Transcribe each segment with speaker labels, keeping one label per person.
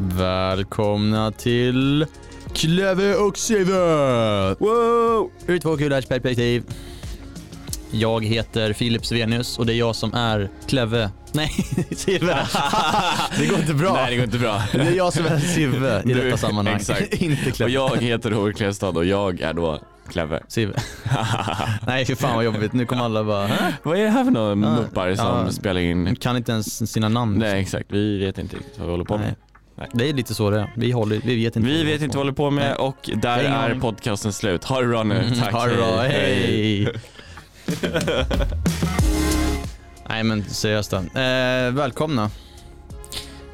Speaker 1: Välkomna till Klöver och Syver! Wow! Ur två kulars perspektiv. Jag heter Filip Svenius och det är jag som är Klöve. Nej, Sive. det går inte bra.
Speaker 2: Nej, det går inte bra.
Speaker 1: Det är jag som är Sive i
Speaker 2: Du-
Speaker 1: detta sammanhang.
Speaker 2: exakt.
Speaker 1: inte
Speaker 2: Och
Speaker 1: Klöve.
Speaker 2: jag heter Robert Klevstad och jag är då Kleve.
Speaker 1: Sive. Nej, fy fan vad jobbigt. Nu kommer alla bara, "Hä?
Speaker 2: Vad är det här för några muppar som
Speaker 1: Ah, ja.
Speaker 2: spelar in?
Speaker 1: kan inte ens sina namn.
Speaker 2: Nej exakt, vi vet inte riktigt vad vi håller på med.
Speaker 1: Nej. Det är lite så det är. Vi, håller, vi vet inte.
Speaker 2: Vi vet inte vad vi håller på med och där
Speaker 1: Nej, ingen
Speaker 2: är
Speaker 1: aning.
Speaker 2: podcasten slut. Ha det bra nu. Tack.
Speaker 1: Ha det bra, hej! Nej men seriöst då. Eh, välkomna.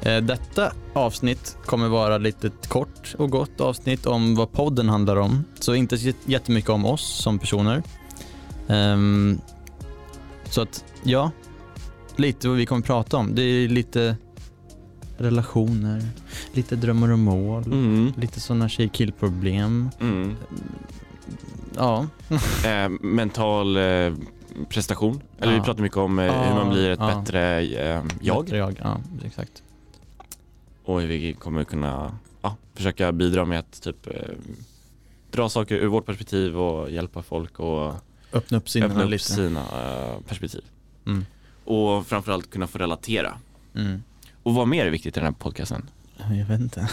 Speaker 1: Eh, detta avsnitt kommer vara lite kort och gott avsnitt om vad podden handlar om. Så inte så jättemycket om oss som personer. Ehm, så att, ja. Lite vad vi kommer prata om. Det är lite relationer, lite drömmar och mål,
Speaker 2: Mm.
Speaker 1: lite sådana tjej-killproblem.
Speaker 2: Mm.
Speaker 1: Ja.
Speaker 2: Eh, mental eh, prestation. Eller
Speaker 1: Ja.
Speaker 2: vi pratar mycket om eh,
Speaker 1: Ja,
Speaker 2: hur man blir ett
Speaker 1: ja.
Speaker 2: bättre eh, jag.
Speaker 1: Bättre jag. Ja, exakt.
Speaker 2: Och hur vi kommer kunna ja, försöka bidra med att typ eh, dra saker ur vårt perspektiv och hjälpa folk och
Speaker 1: Öppna upp sinnena
Speaker 2: öppna upp
Speaker 1: lite.
Speaker 2: sina eh, perspektiv.
Speaker 1: Mm.
Speaker 2: Och framförallt kunna få relatera.
Speaker 1: Mm.
Speaker 2: Och vad mer är viktigt i den här podcasten?
Speaker 1: Jag vet inte.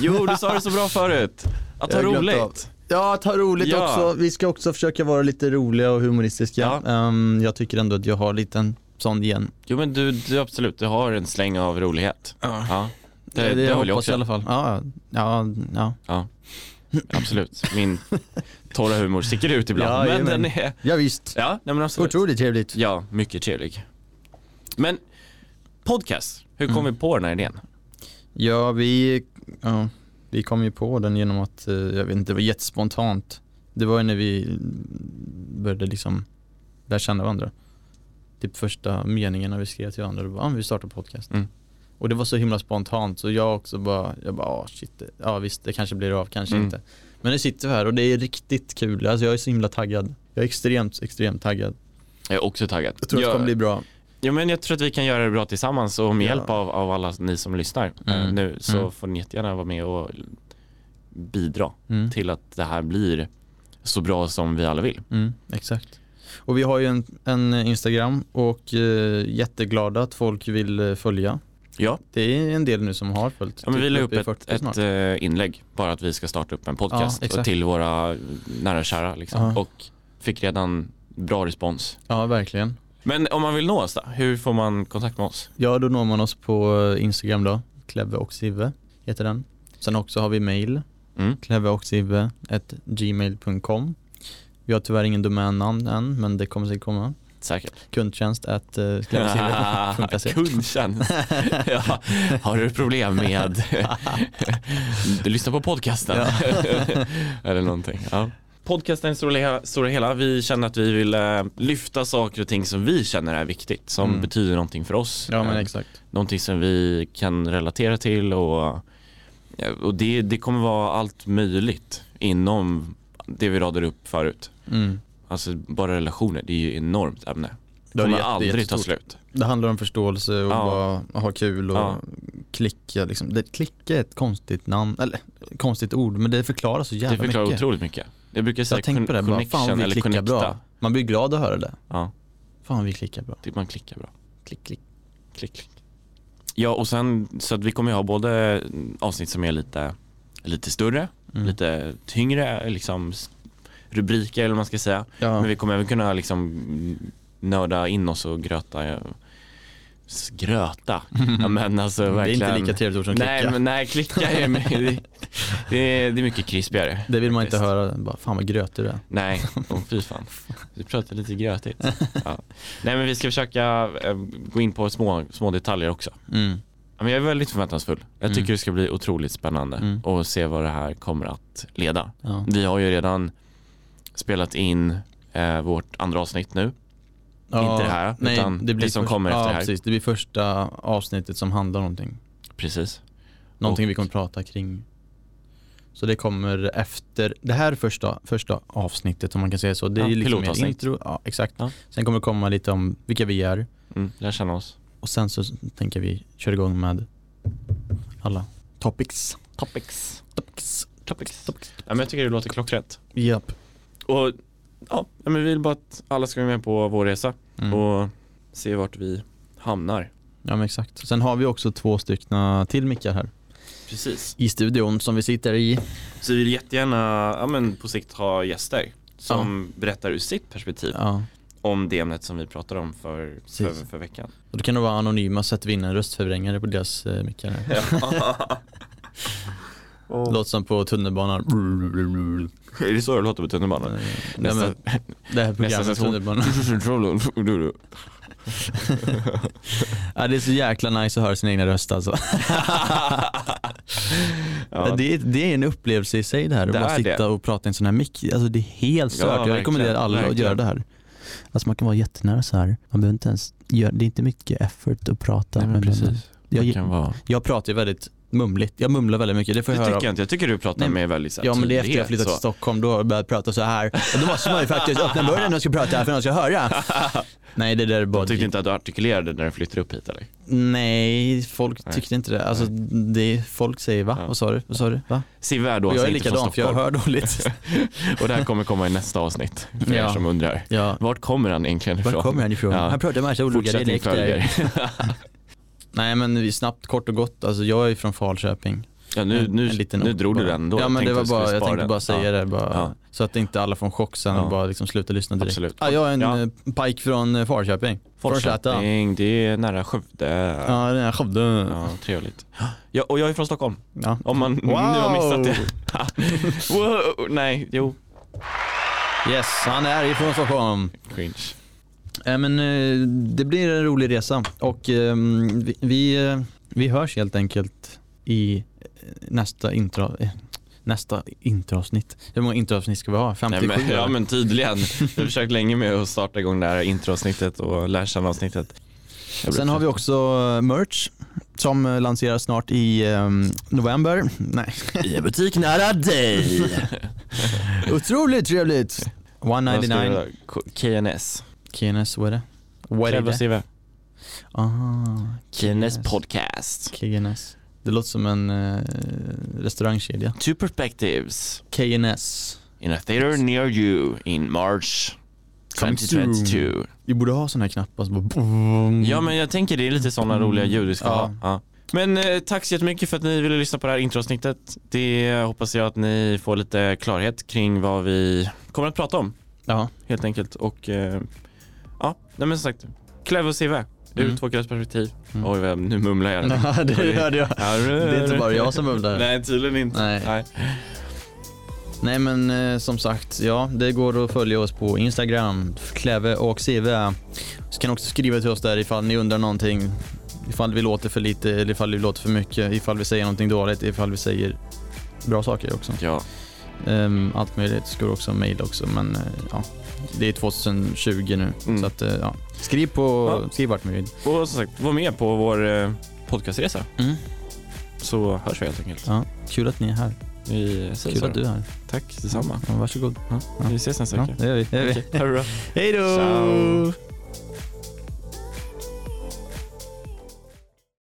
Speaker 2: Jo, du sa det så bra förut! Att
Speaker 1: Jag
Speaker 2: ha
Speaker 1: har glömt
Speaker 2: roligt!
Speaker 1: Ja, ta roligt
Speaker 2: Ja.
Speaker 1: också. Vi ska också försöka vara lite roliga och humoristiska.
Speaker 2: Ja.
Speaker 1: Ehm, jag tycker ändå att jag har lite en sån igen.
Speaker 2: Jo men du, du absolut, du har en släng av rolighet. Ja, det, det,
Speaker 1: jag
Speaker 2: har
Speaker 1: hoppas
Speaker 2: jag
Speaker 1: i
Speaker 2: också.
Speaker 1: alla fall. Ja, ja, ja.
Speaker 2: Absolut. Min torra humor sticker ut ibland.
Speaker 1: Ja,
Speaker 2: men
Speaker 1: jajamän.
Speaker 2: den är,
Speaker 1: ja visst.
Speaker 2: ja, nej men absolut.
Speaker 1: Otroligt trevligt.
Speaker 2: Ja, mycket trevlig. Men podcast, hur kom
Speaker 1: Mm.
Speaker 2: vi på den här idén?
Speaker 1: Ja, vi, ja, vi kom ju på den genom att, eh, jag vet inte, det var jättespontant. Det var ju när vi mm, började liksom lära känna varandra. Typ första meningarna vi skrev till varandra, det var ah, vi startar podcast.
Speaker 2: Mm.
Speaker 1: Och det var så himla spontant så jag också bara, jag bara ah, shit, det- ja visst det kanske blir av, kanske
Speaker 2: Mm.
Speaker 1: inte. Men nu sitter vi här och det är riktigt kul, alltså jag är så himla taggad. Jag är extremt, extremt taggad.
Speaker 2: Jag är också taggad.
Speaker 1: Jag tror att det kommer bli bra.
Speaker 2: ja, men jag tror att vi kan göra det bra tillsammans och med
Speaker 1: Ja.
Speaker 2: hjälp av, av alla ni som lyssnar
Speaker 1: Mm.
Speaker 2: eh, nu så
Speaker 1: Mm.
Speaker 2: får ni jättegärna vara med och bidra
Speaker 1: Mm.
Speaker 2: till att det här blir så bra som vi alla vill.
Speaker 1: Mm, exakt. Och vi har ju en, en Instagram och eh, jätteglada att folk vill eh, följa.
Speaker 2: Ja,
Speaker 1: Det är en del nu som har följt.
Speaker 2: ja men vi
Speaker 1: Typ
Speaker 2: la upp
Speaker 1: uppe i
Speaker 2: ett,
Speaker 1: 40 snart.
Speaker 2: ett eh, inlägg bara att vi ska starta upp en podcast
Speaker 1: Ja, exakt.
Speaker 2: och till våra nära och kära liksom.
Speaker 1: Ja.
Speaker 2: och fick redan bra respons.
Speaker 1: Ja, verkligen.
Speaker 2: Men om man vill nå oss då, hur får man kontakt med oss?
Speaker 1: Ja, då når man oss på eh, Instagram då. Kleve och Sive heter den. Sen också har vi mail.
Speaker 2: Mm.
Speaker 1: gmail.com Vi har tyvärr ingen domännamn än, men det kommer säkert komma.
Speaker 2: Säkert.
Speaker 1: Kundtjänst at eh, klevosive.se.
Speaker 2: Kundtjänst. Ja. Har du problem med Du lyssnar på podcasten Eller någonting ja. Podcasten i stora hela, stora hela Vi känner att vi vill eh, lyfta saker och ting som vi känner är viktigt Som
Speaker 1: Mm.
Speaker 2: betyder någonting för oss
Speaker 1: Ja, men
Speaker 2: Eh,
Speaker 1: exakt.
Speaker 2: Någonting som vi kan relatera till och, ja, och det, det kommer vara allt möjligt Inom det vi radade upp förut
Speaker 1: Mm.
Speaker 2: Alltså bara relationer, det är ju ett enormt ämne
Speaker 1: Ja, det
Speaker 2: Det
Speaker 1: är
Speaker 2: kommer
Speaker 1: jätte-
Speaker 2: aldrig ta
Speaker 1: jättestort.
Speaker 2: slut
Speaker 1: Det handlar om förståelse och
Speaker 2: Ja.
Speaker 1: bara ha kul och
Speaker 2: Ja.
Speaker 1: klicka liksom. det, Klicka är ett konstigt namn, eller konstigt ord men det förklarar så jävla
Speaker 2: Det förklarar
Speaker 1: mycket.
Speaker 2: otroligt mycket. Jag brukar
Speaker 1: Jag
Speaker 2: säga
Speaker 1: har tänkt på det, bara,
Speaker 2: connection
Speaker 1: fan vi
Speaker 2: eller
Speaker 1: klickar
Speaker 2: connecta.
Speaker 1: bra. Man blir glad att höra det.
Speaker 2: Ja,
Speaker 1: Fan vi klickar bra.
Speaker 2: det Typ, man klickar bra.
Speaker 1: Klick, klick.
Speaker 2: Klick, klick. Ja, och sen så att vi kommer ju ha både avsnitt som är lite, lite större,
Speaker 1: Mm.
Speaker 2: lite tyngre liksom s- rubriker eller vad man ska säga.
Speaker 1: Ja.
Speaker 2: Men vi kommer även kunna liksom nörda in oss och gröta. eh, s- Gröta? Ja, men alltså
Speaker 1: det är
Speaker 2: verkligen.
Speaker 1: inte lika trevligt ord som klicka.
Speaker 2: Nej, men nej, klicka är, det, det är, det är mycket krispigare.
Speaker 1: det vill man inte
Speaker 2: Faktiskt.
Speaker 1: höra, bara, fan vad grötig du är.
Speaker 2: Nej, oh, fy fan. Du pratar lite grötigt. Ja. Nej men vi ska försöka eh, gå in på små, små detaljer också.
Speaker 1: Mm.
Speaker 2: Ja, Men jag är väldigt förväntansfull. Jag tycker
Speaker 1: Mm.
Speaker 2: det ska bli otroligt spännande
Speaker 1: Mm.
Speaker 2: och se vad det här kommer att leda.
Speaker 1: Ja.
Speaker 2: Vi har ju redan spelat in eh, vårt andra avsnitt nu.
Speaker 1: Ja,
Speaker 2: det här,
Speaker 1: nej,
Speaker 2: utan
Speaker 1: det, blir
Speaker 2: det som
Speaker 1: först-
Speaker 2: kommer efter
Speaker 1: ja,
Speaker 2: det här.
Speaker 1: Precis. Det blir första avsnittet som handlar om någonting.
Speaker 2: Precis.
Speaker 1: Någonting
Speaker 2: Och-
Speaker 1: vi kommer prata kring. Så det kommer efter, det här är första, första avsnittet om man kan säga så. Det är
Speaker 2: Ja,
Speaker 1: ju liksom ett
Speaker 2: pilotavsnitt.
Speaker 1: intro. Ja, exakt.
Speaker 2: Ja.
Speaker 1: Sen kommer det komma lite om vilka vi är
Speaker 2: Mm, lär känna oss.
Speaker 1: och sen så tänker vi köra igång med alla. Topics.
Speaker 2: Topics.
Speaker 1: Topics.
Speaker 2: Topics.
Speaker 1: Topics.
Speaker 2: Ja, men jag tycker det låter klockrent.
Speaker 1: Japp.
Speaker 2: Och ja, men vi vill bara att alla ska vara med på vår resa
Speaker 1: Mm.
Speaker 2: och se vart vi hamnar.
Speaker 1: Ja men exakt. Sen har vi också två stycken till mickar här
Speaker 2: Precis.
Speaker 1: i studion som vi sitter i.
Speaker 2: Så vi vill jättegärna ja, men på sikt ha gäster som berättar ur sitt perspektiv
Speaker 1: Ja.
Speaker 2: om det ämnet som vi pratar om för, för,
Speaker 1: Precis.
Speaker 2: för veckan.
Speaker 1: Och då kan de vara anonyma så att vi vinner en röstförvrängare på deras eh, mickar. här. Låter som på tunnelbanan.
Speaker 2: Är det så det låter på
Speaker 1: Eh,
Speaker 2: tunnelbanan?
Speaker 1: nej, men, det här
Speaker 2: nästa
Speaker 1: programmet
Speaker 2: session.
Speaker 1: tunnelbanan. Ja, det är så jäkla nice att höra sin egna röst alltså.
Speaker 2: ja.
Speaker 1: Det, är, det är en upplevelse i sig det här, att
Speaker 2: Det
Speaker 1: bara
Speaker 2: är
Speaker 1: sitta
Speaker 2: det.
Speaker 1: och prata i en sån här mick. Alltså det är helt
Speaker 2: Ja,
Speaker 1: stört.
Speaker 2: verkligen,
Speaker 1: jag rekommenderar alla att
Speaker 2: verkligen.
Speaker 1: göra det här. Alltså man kan vara jättenära så här. Man behöver inte ens, göra- det är inte mycket effort att prata.
Speaker 2: Nej, men
Speaker 1: med någon.
Speaker 2: precis.
Speaker 1: Jag,
Speaker 2: Det kan vara.
Speaker 1: jag pratar ju väldigt mumligt. Jag mumlar väldigt mycket. Det får jag
Speaker 2: Det
Speaker 1: höra.
Speaker 2: tycker jag inte. Jag tycker du pratar
Speaker 1: Nej,
Speaker 2: med väldigt så här
Speaker 1: Ja men det är efter jag
Speaker 2: tydlighet,
Speaker 1: flyttat till
Speaker 2: så.
Speaker 1: Stockholm, då har jag börjat prata så här. Och då måste man ju faktiskt öppna munnen när jag ska prata här för någon ska höra. Nej det där är bara...
Speaker 2: Jag tyckte inte att du artikulerade när du flyttade upp hit eller?
Speaker 1: Nej, folk
Speaker 2: Nej.
Speaker 1: tyckte inte det. Alltså det, folk säger va?
Speaker 2: Ja.
Speaker 1: Vad sa du? Vad sa du? Va?
Speaker 2: Sive är då
Speaker 1: Och jag
Speaker 2: alltså
Speaker 1: är
Speaker 2: inte från
Speaker 1: likadan för jag
Speaker 2: Stockholm.
Speaker 1: hör dåligt.
Speaker 2: Och det här kommer komma i nästa avsnitt för er
Speaker 1: Ja.
Speaker 2: som undrar.
Speaker 1: Ja,
Speaker 2: Vart kommer han egentligen ifrån?
Speaker 1: var kommer han ifrån?
Speaker 2: Ja.
Speaker 1: Han pratar en massa olika
Speaker 2: Fortsättning
Speaker 1: dialekter.
Speaker 2: följer.
Speaker 1: Nej men vi- snabbt, kort och gott, alltså jag är från Falköping.
Speaker 2: Ja, nu,
Speaker 1: En-
Speaker 2: nu,
Speaker 1: en liten
Speaker 2: nu
Speaker 1: ort
Speaker 2: drog du
Speaker 1: bara.
Speaker 2: den då.
Speaker 1: Ja men
Speaker 2: tänkte
Speaker 1: det var
Speaker 2: att vi skulle
Speaker 1: bara, jag
Speaker 2: spara
Speaker 1: tänkte
Speaker 2: den.
Speaker 1: bara säga
Speaker 2: Ja,
Speaker 1: det bara.
Speaker 2: Ja.
Speaker 1: Så att inte alla får en chock sen
Speaker 2: Ja.
Speaker 1: och bara liksom slutar lyssna direkt.
Speaker 2: Absolut.
Speaker 1: Ah, jag är en
Speaker 2: Ja.
Speaker 1: eh, pike från eh, Falköping. Från Zlatan.
Speaker 2: Fortsättning, det är nära Skövde. Ja.
Speaker 1: Ja, det är Skövde.
Speaker 2: trevligt. Ja, och jag är från Stockholm.
Speaker 1: Ja.
Speaker 2: Om man nu har missat det. wow, nej, jo.
Speaker 1: Yes, han är ifrån Stockholm.
Speaker 2: Cringe.
Speaker 1: Äh, men, eh, det blir en rolig resa och eh, vi, vi, eh, vi hörs helt enkelt i eh, nästa intro. eh, Nästa introavsnitt. Hur många introavsnitt ska vi ha?
Speaker 2: Nej,
Speaker 1: 57?
Speaker 2: men, ja
Speaker 1: eller?
Speaker 2: men tydligen. Jag har försökt länge med att starta igång det här introavsnittet och lärkärnavsnittet.
Speaker 1: Sen har vi också eh, merch som eh, lanseras snart i eh, november. Nej.
Speaker 2: I en butik nära dig.
Speaker 1: Otroligt trevligt! 199.
Speaker 2: KNS.
Speaker 1: Kenes, vad är det? Vad är det? Ah, Aha,
Speaker 2: KNS podcast.
Speaker 1: KNS. Det låter som en eh, restaurangkedja.
Speaker 2: Two perspectives.
Speaker 1: KNS.
Speaker 2: In a theater near you in March
Speaker 1: Coming soon.
Speaker 2: 2022.
Speaker 1: Vi borde ha sådana här knappar som bara boom.
Speaker 2: Ja men jag tänker det är lite sådana roliga ljud vi ska
Speaker 1: Mm. Ja.
Speaker 2: ha. Ja. Men eh, tack så jättemycket för att ni ville lyssna på det här introavsnittet. Det hoppas jag att ni får lite klarhet kring vad vi kommer att prata om
Speaker 1: ja.
Speaker 2: helt enkelt. Och eh, ja, nej men som sagt, Clev och CV ur
Speaker 1: Mm.
Speaker 2: två killars perspektiv.
Speaker 1: Mm.
Speaker 2: Oj, vad- nu mumlar jag.
Speaker 1: det hörde jag.
Speaker 2: det
Speaker 1: Det är inte bara jag som mumlar. Nej.
Speaker 2: Nej, tydligen inte.
Speaker 1: Nej. men eh, som sagt, ja det går att följa oss på Instagram, Kleve och CV. Så kan ni också skriva till oss där ifall ni undrar någonting. Ifall vi låter för lite eller ifall vi låter för mycket. Ifall vi säger någonting dåligt, ifall vi säger bra saker också.
Speaker 2: Ja,
Speaker 1: Ehm, allt möjligt. Ska också mejla också men eh, ja. Det är 2020 nu
Speaker 2: Mm.
Speaker 1: så att eh, ja. Skriv på,
Speaker 2: Ja.
Speaker 1: skriv vart ni vill.
Speaker 2: och som sagt, var med på vår eh, podcastresa så hörs vi helt enkelt.
Speaker 1: Ja, Mm. kul att ni är här.
Speaker 2: Vi säger
Speaker 1: Kul
Speaker 2: så.
Speaker 1: att du är här.
Speaker 2: Tack detsamma.
Speaker 1: Ja, varsågod.
Speaker 2: Vi ses nästa
Speaker 1: Ja,
Speaker 2: vecka.
Speaker 1: det gör vi. Det gör vi.
Speaker 2: Okej, ha det bra.
Speaker 1: Hej då!
Speaker 2: Ciao.